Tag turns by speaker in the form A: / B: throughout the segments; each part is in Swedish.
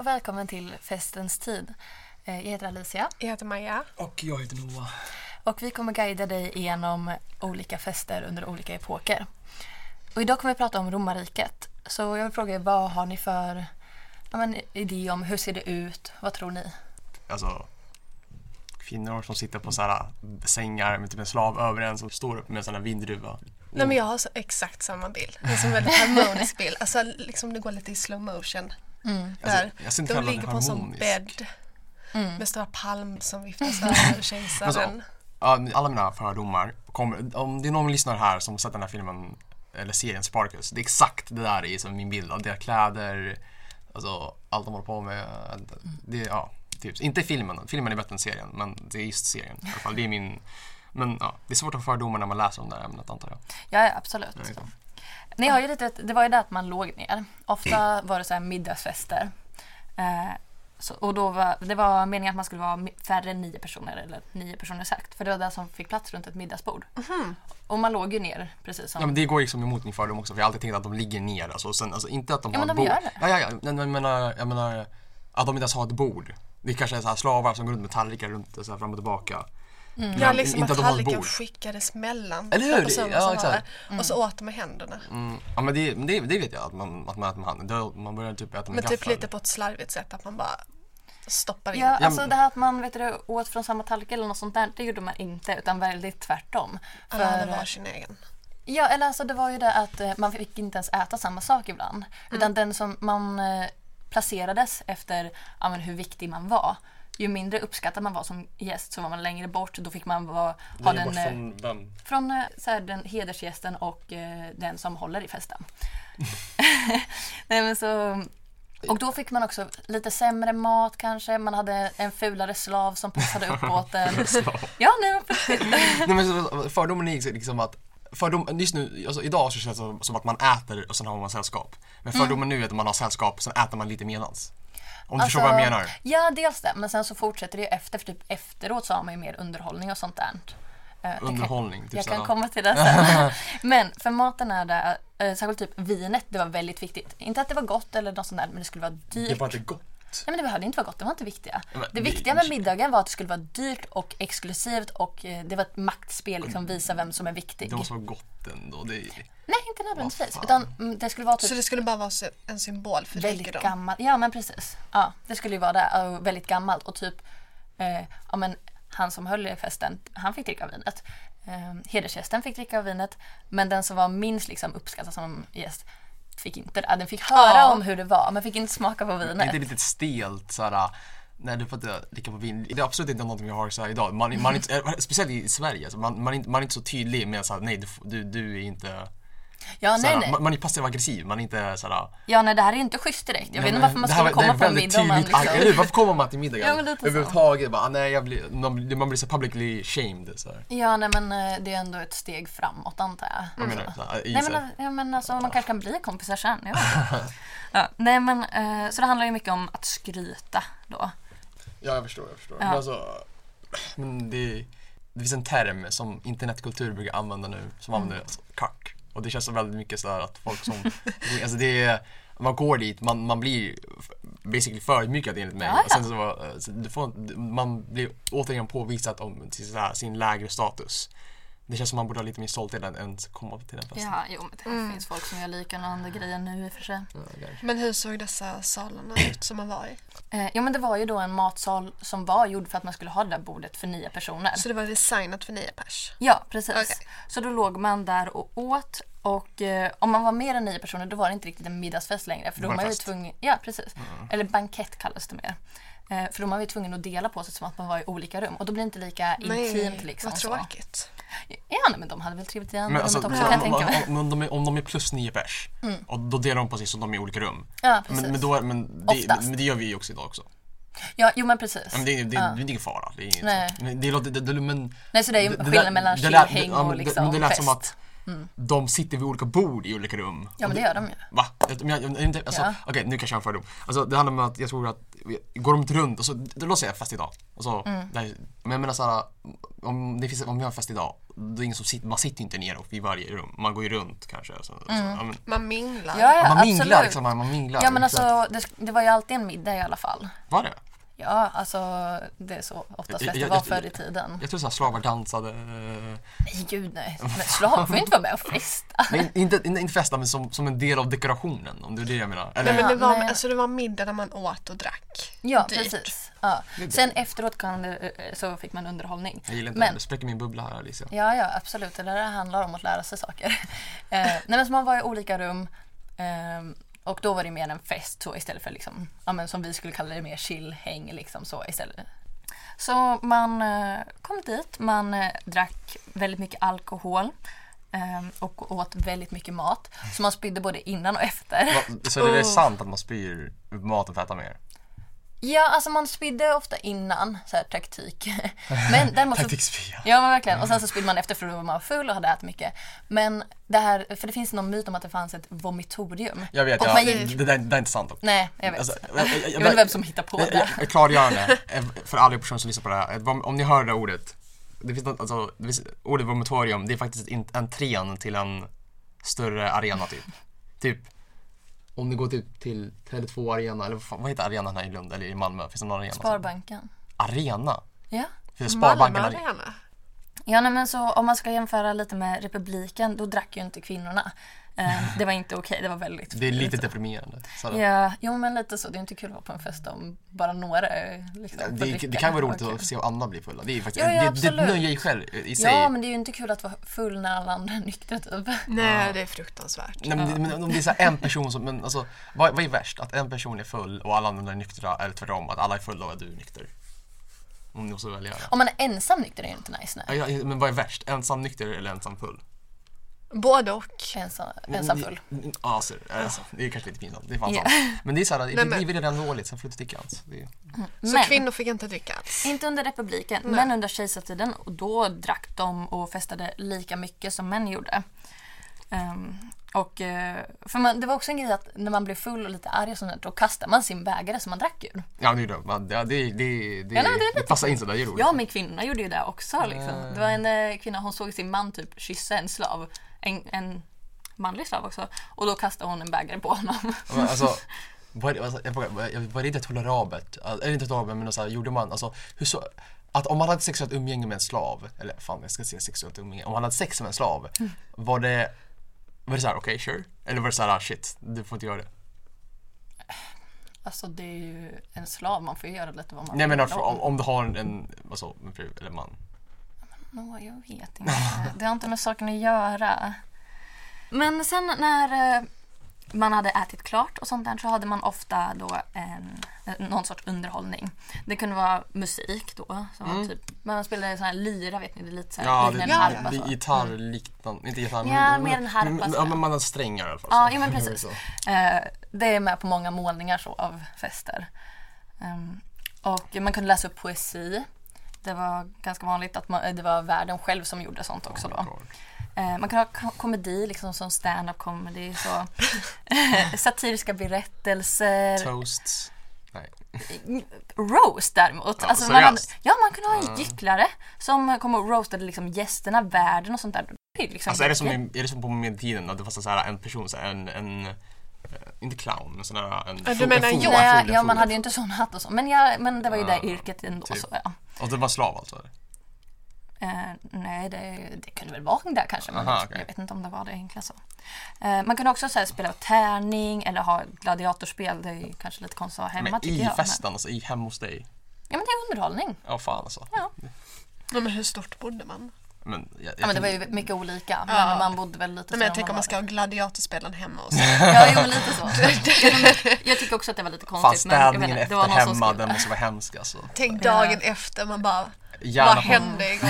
A: välkommen till Festens tid. Eh, Jag heter Alicia
B: Jag heter Maja.
C: Och jag heter Noah.
A: och vi kommer guida dig igenom olika fester under olika epoker. Och idag kommer vi prata om romarriket. Så jag vill fråga er, vad har ni för ja, men, idé om hur ser det ut? Vad tror ni?
D: Alltså, kvinnor som sitter på så här eh, sängar med typ en slav över en som står upp med en sån här vindruva.
B: Nej men jag har så exakt samma bild. Det är som en väldigt harmonisk bild. Alltså liksom det går lite i slow motion. Där.
D: Mm. Alltså, jag ser inte
B: De
D: själva
B: ligger på en sån
D: harmonisk. Mm.
B: bädd med stora palm som viftas över kejsaren.
D: Alltså, Ja, alla mina fördomar kommer, om det är någon lyssnare här som sett den här filmen eller serien Sparkus, det är exakt det där i som min bild av deras kläder, alltså allt de håller på med.
B: Mm.
D: Det, ja, typ. Inte filmen, filmen är bättre än serien, men det är just serien i alla fall. Det är min, men ja, det är svårt att ha fördomar när man läser om det här ämnet antar jag.
A: Ja, absolut.
D: Jag vet inte.
A: Ni har ju lite, det var ju det att man låg ner. Ofta
D: Mm.
A: var det så här middagsfester. Eh, så, och då var, det var meningen att man skulle vara mi- färre än nio personer, eller nio personer exakt. För det var det som fick plats runt ett middagsbord. Och man låg ju ner precis som...
D: Ja men det går liksom emot min fördom också för jag har alltid tänkt att de ligger ner alltså, och sen, alltså inte att de
A: Ja,
D: har
A: men
D: ett
A: de
D: bord.
A: gör det.
D: Ja, ja, ja. Nej, men Jag, menar, jag menar att de inte ens har ett bord. Det kanske är så här slavar som går runt med tallrikar runt så här fram och tillbaka.
A: Mm.
D: Men
B: Ja, liksom
D: inte
B: att
D: att de har ett
B: tallriken
D: bord.
B: skickades mellan
D: Eller
B: två
D: hur?
B: personer
D: Ja,
B: som var
D: exakt.
B: där. Och så åt de med händerna.
D: Mm. Ja men det, men det, det vet jag att man, att man äter med handen. Då- Man börjar typ äta med
B: Men typ
D: gaffel.
B: lite på ett slarvigt sätt att man bara stoppar in.
A: Ja,
D: Ja,
A: alltså
D: men-
A: det här att man vet du, åt från samma tallrik eller något sånt där, det gjorde man inte utan väldigt tvärtom.
B: Alla hade
A: För-
B: var sin egen.
D: typ
A: Ja, eller alltså det var ju det att eh, man fick inte ens äta samma sak ibland. Utan den som man eh, placerades efter ja, men hur viktig man var. Ju mindre uppskattad man var som gäst så var man längre bort. Då fick man vara, ha den, eh, från,
D: vem?
A: eh, så här, den hedersgästen och eh, den som håller i festen. Nej, men så, och då fick man också lite sämre mat kanske. Man hade en fulare slav som passade upp åt en. Ja, nej, men för-
D: Nej men så- fördomen är liksom att Fördom, just nu, alltså idag så känns det som- som att man äter och sen har man sällskap. Men fördomen nu är att man har sällskap, sen äter man lite medans. Om du förstår vad jag
A: Mm. Alltså,
D: menar.
A: Ja, dels det. Men sen så fortsätter det ju efter. För typ efteråt så har man ju mer underhållning och sånt där. Eh, det kan-
D: Underhållning. Typ
A: Jag
D: såhär.
A: kan komma till det sen. Men för maten är det, eh, särskilt typ vinet, det var väldigt viktigt. Inte att det var gott eller något sånt där, men det skulle vara dyrt.
D: inte gott.
A: Nej men det behövde inte vara gott, det var inte viktiga.
D: Men
A: Det
D: det-
A: viktiga med middagen var att det skulle vara dyrt och exklusivt och eh, det var ett maktspel, liksom visa vem som är viktig.
D: Det måste vara gott ändå. Det är...
A: Nej, inte nödvändigtvis.
D: Vad fan.
A: Utan mm, det skulle vara typ
B: Så det skulle bara vara så- en symbol för
A: väldigt
B: rikedom.
A: gammalt. Ja men precis. Ja, det skulle ju vara det. Ja, och Väldigt gammalt och typ eh, ja, men han som höll i festen, han fick dricka av vinet. Eh, hedersgästen fick dricka av vinet men den som var minst liksom, uppskattad som gäst fick inte det. Ja, Den fick höra
B: Ja.
A: om hur det var men fick inte smaka på
D: det är inte
A: vinet.
D: lite stelt såhär. Nej du får inte dricka på vin. Det är absolut inte någonting vi har såhär idag. Man, man är inte, eh, speciellt i Sverige, alltså, man, man, är inte, man är inte så tydlig med såhär, nej du, får- du, du är inte...
A: Ja, nej,
D: såhär,
A: nej.
D: Man, man är passiv aggressiv, man är inte såhär...
A: ja nej, det här är inte schysst direkt. Jag
D: nej,
A: vet inte
D: men
A: varför man
D: det här
A: skulle
D: var- det
A: komma
D: är
A: på en
D: väldigt
A: middag om man
D: tydligt agg-
A: liksom...
D: Eller hur? Varför kommer man till
A: Ja, men
D: middagen?
A: lite så.
D: Överhuvudtaget bara, ah, nej jag blir, man, blir- man blir så publicly shamed såhär.
A: Ja nej men eh, det är ändå ett steg framåt antar jag.
D: Vad menar du? Såhär, i
A: Nej
D: såhär-
A: men, ja, men alltså, man kanske kan bli kompisar sen. Jag vet inte. ja, nej, men, eh, så det handlar ju mycket om att skryta då.
D: Ja, jag förstår, jag förstår.
A: Ja.
D: Men alltså, men det, det finns en term som internetkultur brukar använda nu, som
A: Mm.
D: använder alltså, kack. Och det känns så väldigt mycket sådär att folk som, det- alltså det är, man går dit, man, man blir basically förödmjukad enligt mig.
A: Ja, ja.
D: Och sen så, var- så du får, man blir återigen påvisad om till sådär, sin lägre status. Det känns som man borde ha lite mer stolthet än ens komma till den festen.
A: Ja, jo, men det finns folk som gör liknande grejer nu i och för sig.
D: Ja, kanske.
B: Men hur såg dessa salarna ut som man var i?
A: Eh, jo men det var ju då en matsal som var gjord för att man skulle ha det där bordet för nio personer.
B: Så Alltså, det var designat för nio pers?
A: Ja, precis.
B: Okej.
A: Så då låg man där och åt och eh, om man var mer än nio personer då var det inte riktigt en middagsfest längre. För då
D: Det
A: var man
D: var en
A: ju
D: fest. Mm.
A: tvungen, ja, precis. Eller bankett kallas det mer. Eh, för då var man ju tvungen att dela på sig som att man var i olika rum och då blir det inte lika intimt. Liksom,
B: vad
A: så.
B: tråkigt.
A: Ja, nej, men de hade väl trevligt i andra
D: Men
A: rummet
D: alltså,
A: också
D: om,
A: kan jag tänka mig. Mm.
D: om, om, de är, om de är plus nio pers, och då delar de på sig så de är i olika rum.
A: Ja, precis.
D: Men, men, då, är- men, det,
A: Oftast.
D: men det gör vi ju också idag också.
A: Ja, jo men precis.
D: Ja, Men det, är- det,
A: Ja.
D: är det är ingen fara. Det är inget
A: Nej.
D: så. Men det låter, det, det, men
A: Nej, så det är ju
D: det- det
A: skillnad
D: lät-
A: mellan
D: det lät-
A: tjejhäng
D: ja, men
A: och
D: det-
A: liksom
D: men det lät
A: fest. Mm.
D: som att de sitter vid olika bord i olika rum.
A: Ja, men det gör de ju.
D: Va? Jag- men jag- jag- inte- Alltså,
A: Ja.
D: Okej, nu kanske jag har en fördom. Alltså, det handlar om att jag tror att, går de inte runt,
A: Mm.
D: alltså, det låter jag fest idag. Alltså, det här, men jag menar såhär, om, det finns, om vi har en fest idag det är ingen som sitter, man sitter ju inte ner och vid varje rum. Man går ju runt kanske. Så, så, ja, men,
B: Man minglar.
A: Ja, ja
D: man minglar
A: Mm. absolut.
D: liksom, man, man minglar.
A: Ja men alltså det, det var ju alltid en middag i alla fall.
D: Var det?
A: Ja, alltså det är så oftast
D: Jag-
A: det
D: jag-
A: var
D: jag-
A: förr i tiden.
D: Jag tror såhär slavar dansade. eh,
A: Nej gud nej, men slav får ju inte vara med och festa.
D: Nej, inte, inte, inte festa men som, som en del av dekorationen om det är det jag menar. Eller,
B: Nej,
A: Mm.
B: men det, var,
A: nej.
B: alltså, det var middag där man åt och drack.
A: Ja
B: Dyrt.
A: precis. Ja.
D: Det är bra.
A: Sen efteråt kan, det- så fick man underhållning.
D: jag gillar inte
A: men-
D: det, det spräcker min bubbla här Alicia.
A: Ja, ja absolut. Det där handlar om att lära sig saker. Eh, nej, men så man var i olika rum ehm, och då var det mer en fest så istället för liksom, ja, men som vi skulle kalla det mer chillhäng liksom så istället. Så man eh, kom dit, man eh, drack väldigt mycket alkohol ehm, och åt väldigt mycket mat. Så man spydde både innan och efter.
D: Va, Så
A: Oh.
D: det är sant att man spyr maten för att äta mer?
A: Ja, alltså man spydde ofta innan, så här taktik. Men däremot så
D: Taktikspya.
A: Ja men verkligen. Och sen så spydde man efter för då var man full och hade ätit mycket. Men det här, för det finns någon myt om att det fanns ett vomitorium.
D: Jag vet,
A: och
D: ja,
A: man
D: det,
A: gick...
D: det, där- det där är inte sant dock.
A: Nej, jag vet.
D: Alltså,
A: jag,
D: jag- jag-
A: vet inte vem som hittar på
D: Jag- jag-
A: det.
D: jag klargör det eh, för alla personer som lyssnar på det här. Om- Om ni hör det ordet, det finns något, alltså, det finns, ordet vomitorium, det är faktiskt in- entrén till en större arena typ. Typ, om ni går typ till Tele2 Arena, eller vad, fan, vad heter arenan här i Lund eller i Malmö? Finns det någon arena? som-
A: Sparbanken.
D: Arena?
A: Ja.
D: Finns det Sparbanken
B: Malmö
D: Arena?
B: Arena.
A: Ja nej, men så om man ska jämföra lite med republiken, då drack ju inte kvinnorna. Eh, Det var inte okej, det var väldigt...
D: Det är lite deprimerande. Så det-
A: Ja, jo men lite så. Det är inte kul att vara på en fest om bara några eh, liksom, får
D: det,
A: dricka.
D: det kan vara roligt
A: Okej.
D: att se andra bli fulla. Det är faktiskt
A: Ja, ja,
D: det, det är ett
A: absolut.
D: nöje i, själv, i sig.
A: Ja, men det är ju inte kul att vara full när alla andra är nyktra typ.
D: Mm.
B: Nej, det är fruktansvärt.
D: Nej, men, det- men om det är så här en person som, men alltså, vad, vad är värst? Att en person är full och alla andra är nyktra eller tvärtom, att alla är fulla och du är nykter? Om ni måste välja. det.
A: Om man är ensam nykter är det ju inte nice. Nej.
D: Ja, ja, Men vad är värst? Ensam nykter eller ensam full?
B: Både och.
A: Ensam, ensam full.
D: Mm, Ja, alltså, alltså, det är kanske lite pinsamt. Det är fan
A: Ja.
D: sant. Men det är så här,
B: Nej,
D: ditt
B: men-
D: liv är redan dåligt, sen flyttar stickans. Det är...
B: Så
A: Men-
B: kvinnor fick inte dricka alls.
A: Inte under republiken, men under kejsartiden. Och då drack de och festade lika mycket som män gjorde. Ehm, och, eh, för man, det var också en grej att när man blev full och lite arg och sånt där, då kastade man sin bägare som man drack ur.
D: Ja, det är dumt. Ja, det, det, det, det,
A: Ja, nej, det är
D: det passar in sådär, det är roligt.
A: Ja, men kvinnorna gjorde ju det också. Liksom. Det var en eh, kvinna, hon såg sin man typ kyssa en slav, en, en manlig slav också, och då kastade hon en bägare på honom.
D: Ja, Men alltså, var, det- alltså, jag frågar, jag- var det inte tolerabelt? Alltså, Eller inte tolerabelt, men så här, gjorde man, alltså, hur så, att om man hade sexuellt umgänge med en slav, eller fan jag ska säga sexuellt umgänge, om man hade sex med en slav,
A: Mm.
D: var det, var det så här, okej, sure? Eller var det så här, ah, shit, du får inte göra det?
A: Alltså det är ju en slav, man får ju göra lite vad man
D: Nej men
A: vill.
D: alltså, om, om du har en, en alltså, en fru eller man.
A: Nå, jag vet inte. Det har inte med saken att göra. Men sen när eh, man hade ätit klart och sånt där så hade man ofta då en, någon sorts underhållning. Det kunde vara musik då. Som var typ, man spelade sån här lyra, vet ni, det är lite så här,
D: Mm. Ja, det,
A: lite en
B: ja,
A: harpa.
B: ja.
D: det,
A: så.
D: det gitarrliknande, inte gitarr,
A: Ja, mer en harpa
D: men-
A: så
D: Ja,
A: här.
D: men man har strängar i alla fall.
A: Ja,
D: så.
A: ja, men precis.
D: Så.
A: Eh, det är med på många målningar så, av fester. Ehm, och man kunde läsa upp poesi. Det var ganska vanligt att man, eh, det var världen själv som gjorde sånt också då.
D: Oh my God.
A: Eh, man kan ha ko- komedi liksom som stand-up comedy. Så. eh, Satiriska berättelser.
D: Toasts. Nej.
A: Roast däremot. Alltså,
D: Ja,
A: man hade,
D: seriöst? Mm.
A: ja, man kunde ha en gycklare som kom och roastade liksom gästerna, värden och sånt där. Det är Liksom
D: Alltså är det som, i- är det som på medeltiden att det fanns så här en person, så här, en, en, eh, inte clown, men sån här en
B: Ja, du
D: fo- en
B: menar
D: fo-
B: jag?
D: en
A: Nej,
D: fo- en
A: ja,
D: fo-
A: man hade ju inte sån hatt och så. Men, ja, men det var ju
D: Ja,
A: det yrket ändå.
D: typ.
A: Så, ja.
D: Och det var slav alltså? eller?
A: Eh, nej, det, det kunde väl vara där kanske. Men
D: Aha,
A: jag-
D: okej.
A: Jag vet inte om det var det enkla så. Eh, man kunde också så här, spela tärning eller ha gladiatorspel. Det är ju kanske lite konstigt att ha hemma
D: Men
A: tycker
D: i
A: jag. Men,
D: festen, alltså i hemma hos dig?
A: ja, men det är underhållning.
D: Ja, fan alltså.
A: Ja.
B: Ja, men hur stort bodde man?
D: Men, jag, jag
A: Ja, men det var
D: tänker-
A: ju mycket olika. Men
B: Ja.
A: man bodde väl lite
B: Nej, men
A: så
B: jag tänker om man ska ha gladiatorspelaren hemma och så.
A: var- Ja, jo, men lite så. jag tycker också att det var lite
D: Fan
A: konstigt. men jag
D: städningen
A: menar,
D: efter
A: någon som
D: hemma,
A: skulle-
D: den måste vara hemsk alltså.
B: Tänk
A: Ja.
B: dagen efter, man bara, vad
D: Gärna på,
B: hände igår?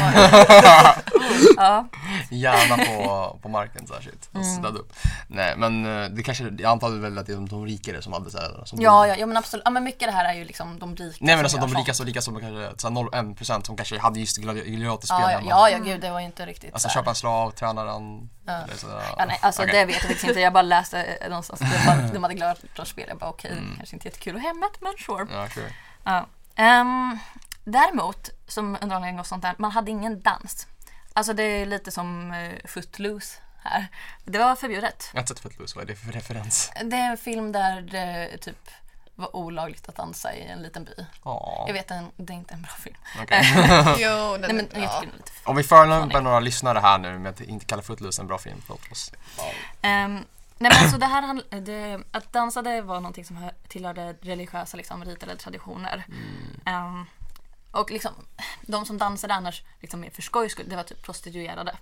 A: Ja.
D: gärna på, på marken särskilt. Mm. upp. Nej men eh, det kanske, jag antar väl att det är de, de rikare som hade så här, som
A: Ja, ja, ja, men absolut. Ja, men mycket det här är ju liksom de rika
D: Nej
A: som
D: men alltså
A: gör
D: de
A: sånt.
D: rika så rika som kanske, så här 0,1% som kanske hade just gladi- gladiatorspel
A: Ja, ja,
D: hemma.
A: ja, ja, gud, det var ju inte riktigt
D: Alltså
A: så här.
D: köpa en slav, träna den.
A: Ja.
D: eller sådär.
A: Ja, nej, alltså
D: Okej.
A: det vet jag faktiskt inte. Jag bara läste eh, någonstans. De, bara, de hade gladiatorspel. Jag bara okej,
D: Mm.
A: kanske inte jättekul att ha hemmet, men sure.
D: Ja, sure.
A: Ja. Ehm, däremot, som underhållning och sånt där, man hade ingen dans. Alltså det är lite som eh, Footloose här. Det var förbjudet.
D: Jag har inte sett Footloose, vad är det för referens?
A: Det är en film där det typ var olagligt att dansa i en liten by.
D: Åh,
A: Jag vet, en, det är inte en bra film. Eh,
D: okej.
B: Jo, den
A: Nej, men
B: är
A: jag
B: bra.
A: tycker den är lite
D: Om vi förolämpar några lyssnare här nu med att inte kalla Footloose en bra film, förlåt oss.
A: Ehm, nej men alltså det här handl- det, att dansa det var någonting som hör, tillhörde religiösa liksom, riter eller traditioner. Ehm, och liksom, de som dansade annars liksom, mer för skojs skull, det var typ prostituerade.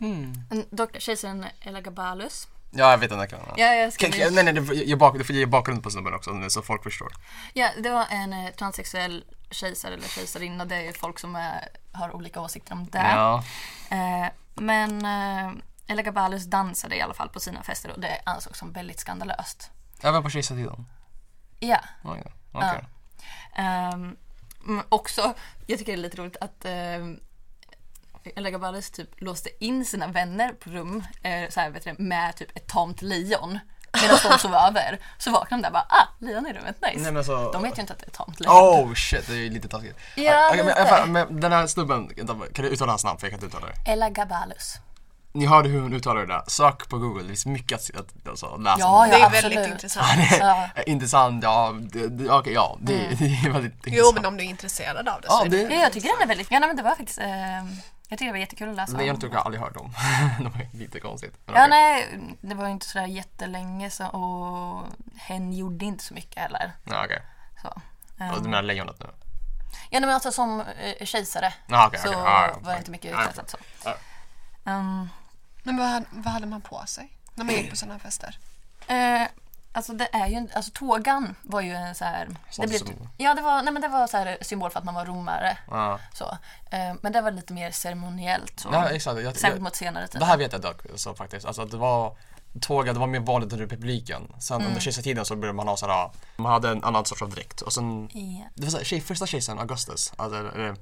A: Mm. Dock kejsaren Elagabalus.
D: Ja, jag vet den där kan
A: Ja, jag
D: Kan-
A: skriver,
D: kan- Nej, nej, du, jag bak, du får ge bakgrund på snubben också nu så folk förstår.
A: ja, det var en eh, transsexuell kejsare eller kejsarinna. Det är folk som är, har olika åsikter om det.
D: Ja.
A: Eh, men eh, Elagabalus dansade i alla fall på sina fester och det ansågs som väldigt skandalöst.
D: Även på kejsartiden?
A: Ja.
D: Oj då. Okej.
A: Ehm, mm, också, jag tycker det är lite roligt att um, Elagabalus typ låste in sina vänner på rum eh, så här, vet du, det, med typ ett tamt lejon. Medan de sov över. Så vaknade de där bara ah, lejon i rummet, nice.
D: Nej, men alltså-
A: De vet ju inte att det är ett tamt lejon.
D: Oh shit, det är ju lite taskigt.
A: Ja,
D: Okej, men,
A: lite.
D: fan, men den här snubben, vänta, kan du uttala hans namn? För jag kan inte uttala det.
A: Elagabalus.
D: Ni hörde hur hon uttalade det där. Sök på google, det finns mycket att, att alltså, läsa.
A: Ja,
B: Det
A: ja.
B: är
A: absolut.
B: väldigt intressant.
A: Ja. Mm.
D: Intressant, ja, det, det, okej, ja, det, det är väldigt
B: Jo,
D: intressant.
B: men om du är intresserad av det
D: ja,
B: så är det...
D: det,
A: Ja, jag tycker den är väldigt, ja nej, men det var faktiskt, eh, jag tycker det var jättekul att läsa.
D: Nej, jag
A: om.
D: tror jag aldrig hört om. det var lite konstigt. Men
A: Ja,
D: okej.
A: nej, det var ju inte sådär jättelänge så, och hen gjorde inte så mycket heller.
D: Ja, okej.
A: Så.
D: Och Du
A: ehm.
D: menar lejonet nu?
A: Ja nej, men alltså som eh, kejsare
D: Ja, Ah, okej,
A: så
D: okej. Ah, Ja, ja,
A: var det
D: fine.
A: inte mycket
D: Ja, ja.
A: uträttat så.
D: Ja.
A: Ehm,
B: Men vad, hade- vad hade man på sig när man gick på sådana fester?
A: eh, alltså det är ju, en- alltså tågan var ju en så här, det
D: Sånt
A: blev,
D: som-
A: ja det var, nej men det var så här symbol för att man var romare
D: Ja,
A: så. Eh, men det var lite mer ceremoniellt så.
D: ja exakt. Jag,
A: Särskilt
D: jag,
A: mot senare tid.
D: det här vet jag dock så faktiskt. Alltså att det var tåga, det var mer vanligt under republiken. Sen
A: Mm.
D: under kejsartiden så började man ha sådär, man hade en annan sorts av dräkt. Och sen,
A: Ja.
D: det var såhär, tjej, första kejsaren Augustus, alltså, eller, eller,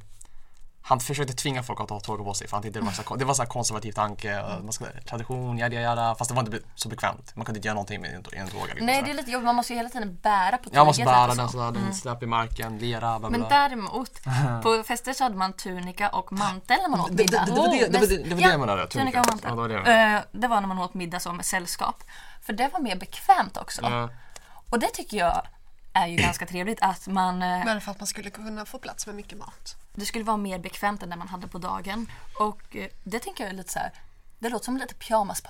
D: han försökte tvinga folk att ha tåga på sig för han tyckte det var så, det var så här konservativ tanke,
A: Mm.
D: och man ska, tradition, jada jada, fast det var inte be- så bekvämt. Man kunde inte göra någonting med en, en tåga. Liksom,
A: Nej
D: sådär.
A: det är lite jobbigt, man måste ju hela tiden bära på tåget.
D: Jag måste
A: här
D: bära
A: och så.
D: den sådär, den släpper i marken, lera, bla bla.
A: Mm. Men
D: bla.
A: däremot, på fester så hade man tunika och mantel när man åt
D: Det, det,
A: middag. Oh,
D: det, det var det, det, var det, det, var det
A: Ja,
D: jag menade.
A: tunika och mantel.
D: Ja, det var det jag menade.
A: Eh, det var när man åt middag som sällskap. För det var mer bekvämt också.
D: Ja.
A: Och det tycker jag är ju ganska trevligt att man, eh,
B: Bara för att man skulle kunna få plats med mycket mat.
A: det skulle vara mer bekvämt än det man hade på dagen. Och eh, det tänker jag är lite så här. Det låter som lite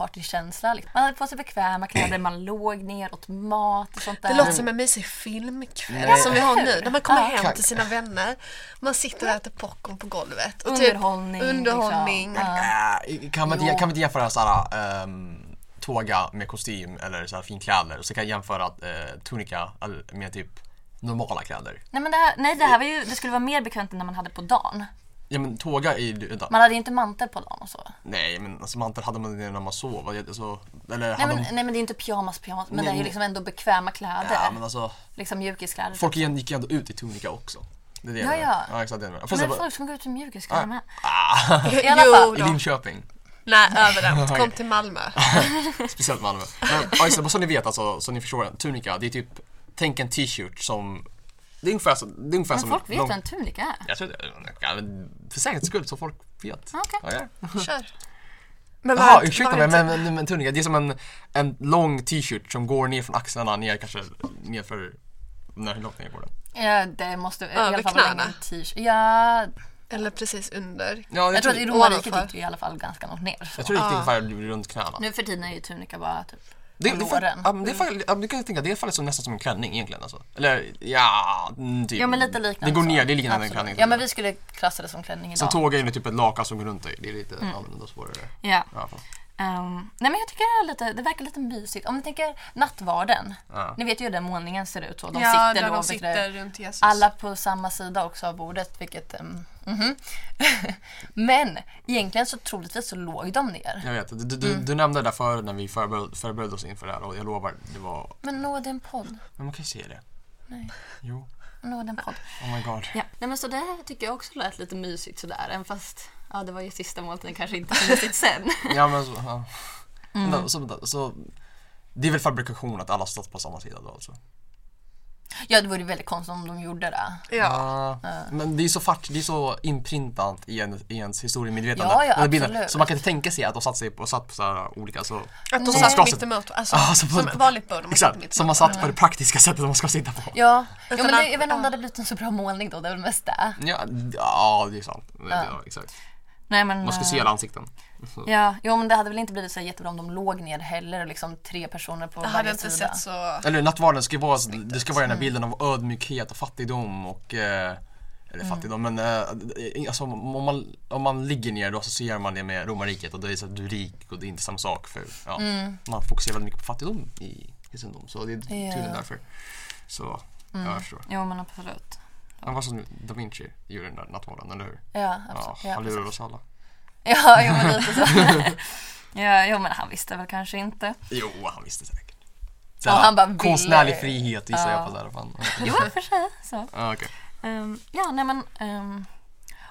A: pyjamaspartykänsla. liksom. Man hade på sig bekväma kläder, man låg ner, åt mat och sånt där.
B: Det låter som en mysig filmkväll
D: Nej.
B: som vi har nu. När man kommer
A: Ja.
B: hem till sina vänner, man sitter och äter popcorn på golvet. Och
A: Underhållning,
B: Typ, underhållning.
A: liksom.
D: Äh, kan, man inte,
A: Jo.
D: kan man inte jämföra såhär um, tåga med kostym eller såhär finkläder och så kan jag jämföra eh, tunika all- med typ normala kläder.
A: Nej, men det här, nej, det här var ju, det skulle vara mer bekvämt än när man hade på dagen.
D: Ja men tåga är ju, vänta,
A: Man hade ju inte mantel på dagen och så.
D: nej men alltså mantel hade man det när man sov, vad heter- så, eller
A: Nej
D: hade man,
A: men, nej men det är inte pyjamas pyjamas men
D: Nej,
A: det är ju
D: nej.
A: liksom ändå bekväma kläder.
D: ja men alltså
A: Liksom mjukiskläder.
D: folk igen, gick ju ändå ut i tunika också. Det är det jag
A: Ja,
D: menar.
A: ja.
D: ja exakt det jag menar. Fast
A: men
D: det var-
A: folk som går ut i mjukiskläder med.
D: ah,
A: I alla fall.
B: Jo
D: I
B: då.
D: Linköping,
B: Nej, överallt. Kom till Malmö.
D: speciellt Malmö. Men ja, just det, bara så ni vet alltså, så ni förstår, tunika det är typ, tänk en t-shirt som, det är ungefär, så, det är ungefär
A: Men
D: som
A: folk vet
D: alltså, lång-
A: vad en tunika är.
D: Jag tror, ja, men för säkerhets skull så folk vet.
A: Okej.
D: Ja, ja.
B: Kör. Men
D: Jaha,
B: var-
D: ursäkta
B: var
D: mig,
B: inte-
D: men, men, men tunika, det är som en, en lång t-shirt som går ner från axlarna ner kanske ner för, när hur långt ner går den?
A: Ja, det måste i alla
B: vid
A: fall vara längre
B: knäna.
A: än t-shirt. Ja,
B: Eller precis under.
D: Ja, jag,
A: jag tror att i
D: jag,
A: Roma riket
B: ovanför.
A: gick det i alla fall ganska långt ner. Så.
D: tror det gick ungefär runt knäna.
A: Nu för tiden är ju tunika bara typ
D: Det,
A: på
D: det,
A: låren.
D: ja, men det, är faktiskt- ja, men det kan jag tänka, det är faktiskt som- nästan som en klänning egentligen alltså. Eller ja, mm, typ.
A: Ja men lite liknande.
D: Det går
A: så.
D: ner, det är liknande en
A: Absolut.
D: klänning.
A: Ja men vi skulle klassa det som klänning
D: Som
A: idag.
D: tåga är det typ ett lakan som går runt dig. Det är lite
A: Mm.
D: annorlunda och svårare.
A: Ja.
D: Ja, fan.
A: Ehm, nej men jag tycker det, är lite, det verkar lite mysigt. Om ni tänker nattvarden.
D: Ja.
A: Ni vet ju hur den målningen ser ut så. De
B: ja,
A: sitter
B: där
A: då
B: de
A: vid det-
B: sitter runt Jesus.
A: Alla på samma sida också av bordet, vilket... Um, mhm. Men egentligen så troligtvis så låg de ner.
D: Jag vet, du, du,
A: Mm.
D: du nämnde det där förut när vi förberedde, förberedde oss inför det här och jag lovar, det var,
A: Men nåd en podd.
D: men man kan ju se det.
A: Nej.
D: Jo,
A: Nåd en podd.
D: oh my god.
A: Ja. Nej men så det här tycker jag också lät lite mysigt sådär, även fast ja, det var ju sista måltiden kanske inte så mysigt sen.
D: Ja men så, ja.
A: Mm.
D: Vänta, så, vänta, så det är väl fabrikation att alla stått på samma sida då alltså?
A: Ja, det vore väldigt konstigt om de gjorde det.
D: Mm.
B: Ja.
A: Ja.
D: Men det är så, fack, det är så inprintat i, en, i ens historiemedvetande.
A: Ja, ja,
D: den här bilden.
A: absolut.
D: Så man kan inte tänka sig att de satt, sig på, satt på så här olika så,
B: Att de
A: Nej.
B: satt
D: Ska-
B: mitt emot, alltså,
D: Ja,
B: som,
D: som-
B: vanligt bör de ha satt
D: Exakt,
B: mitt
D: som
B: emot.
D: man satt på det praktiska sättet man ska sitta på.
A: Ja, jo,
B: Utan
A: men det,
B: att-
A: jag vet inte om
B: ja.
A: det hade blivit en så bra målning då, det är väl mest det.
D: Ja, d- ja det är sant. Ja.
A: Ja.
D: exakt.
A: Nej, men,
D: Man ska
A: eh,
D: se alla ansikten. Så.
A: Ja, jo, men det hade väl inte blivit så jättebra om de låg ner heller och liksom tre personer på
B: Det hade
A: varje
B: inte
A: sida.
B: sett så...
D: Eller nattvarden ska ju vara, det ska vara den här
A: Mm.
D: bilden av ödmjukhet och fattigdom och eh, eller
A: Mm.
D: fattigdom, men eh, alltså, om, man, om man ligger ner då associerar man det med romarriket och det är så att du är rik och det är inte samma sak för ja, man fokuserar väldigt mycket på fattigdom i kristendom så det är tydligen
A: Mm. Ja.
D: därför. Så
A: Mm.
D: jag förstår.
A: Jo, men absolut.
D: Han var som Da Vinci gjorde den där nattvarden, eller hur?
A: Ja,
D: Ja,
A: absolut. Ja,
D: han
A: precis.
D: lurar oss alla.
A: Ja, jo, men lite så. ja, jo, men han visste väl kanske inte.
D: Jo, han visste säkert.
A: Ja, han bara ville-
D: konstnärlig frihet gissar
A: Ja.
D: jag på där. Fan.
A: Jo, i och för sig. Så.
D: Ja, okej.
A: Ehm, ja, nej men... ehm,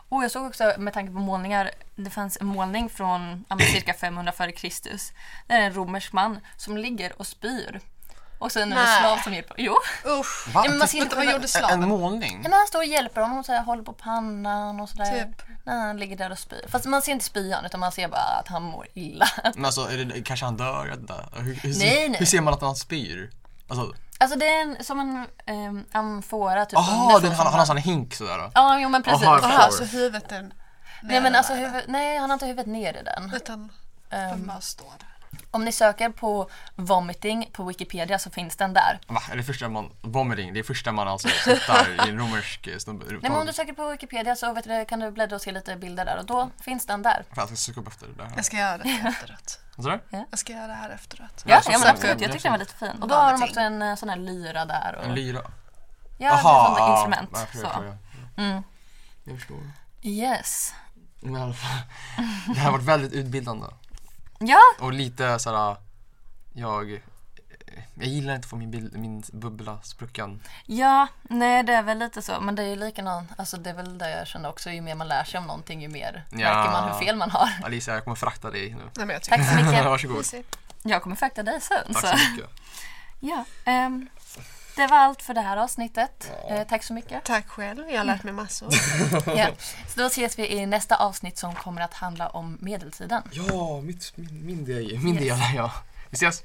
A: och jag såg också, med tanke på målningar, det fanns en målning från ja, men cirka 500 före Kristus. Där är en romersk man som ligger och spyr. Och sen är det
B: Nej.
A: slav som hjälper Jo!
B: Usch.
D: Va?
A: Nej, men man ser inte
B: Vänta, vad
A: själva-
B: gjorde
D: En
B: slaven?
D: målning?
A: Nej, men han står och hjälper honom och så här, håller på pannan och sådär.
B: Typ.
A: När han ligger där och spyr. Fast man ser inte spyan utan man ser bara att han mår illa.
D: Men alltså, är det, kanske han dör? Jag vet inte. Hur, hur,
A: Nej, nej.
D: hur ser man att han spyr? Alltså,
A: Alltså det är en, som en um, amfora typ.
D: aha,
A: underifrån
D: den, han,
A: som
D: han har sån hink sådär.
A: Ja, jo men precis.
D: Aha, jag
B: Jaha,
D: förstår.
B: så huvudet är...
A: Nej men alltså huvud, nej han har inte huvudet ner i den.
B: Utan den
A: Ehm,
B: bara står där.
A: om ni söker på vomiting på Wikipedia så finns den där.
D: Va? Är det första man, vomiting, det är första man alltså hittar i en romersk eh, snubbe.
A: Nej men om du söker på Wikipedia så vet du, kan du bläddra och se lite bilder där och då finns den där.
D: Fan, jag ska söka upp efter det där.
B: Jag ska göra det här efteråt.
D: Vad sa du?
B: Jag ska göra det här efteråt.
A: Ja,
D: så-
A: ja men
D: så-
A: absolut,
D: så-
A: jag tyckte den var lite fin. Och då har de
B: Vomiting.
A: också en eh, sån här lyra där och
D: En lyra?
A: ja, det är sånt där instrument.
D: ja, jag förstår,
A: så.
D: jag
A: Mm.
D: förstår. Jag förstår.
A: Yes.
D: Men i alla fall, det här har varit väldigt utbildande.
A: Ja,
D: Och lite såhär, jag, eh, jag gillar inte att få min, bild, min bubbla sprucken.
A: ja, nej det är väl lite så. Men det är ju likadant, alltså det är väl det jag känner också. Ju mer man lär sig om någonting ju mer
D: Ja.
A: märker man hur fel man har.
D: Alicia, jag kommer frakta dig nu.
B: Nej men jag tycker
A: Tack så mycket.
D: Varsågod.
B: Mysigt.
A: Jag kommer fakta dig sen.
D: Tack
A: Så.
D: så mycket.
A: Ja, ehm, det var allt för det här avsnittet. Eh, tack så mycket.
B: Tack själv, jag har lärt mig massor.
A: Ja. Så då ses vi i nästa avsnitt som kommer att handla om medeltiden.
D: Ja, mitt, min, min del, min del, ja. Vi ses!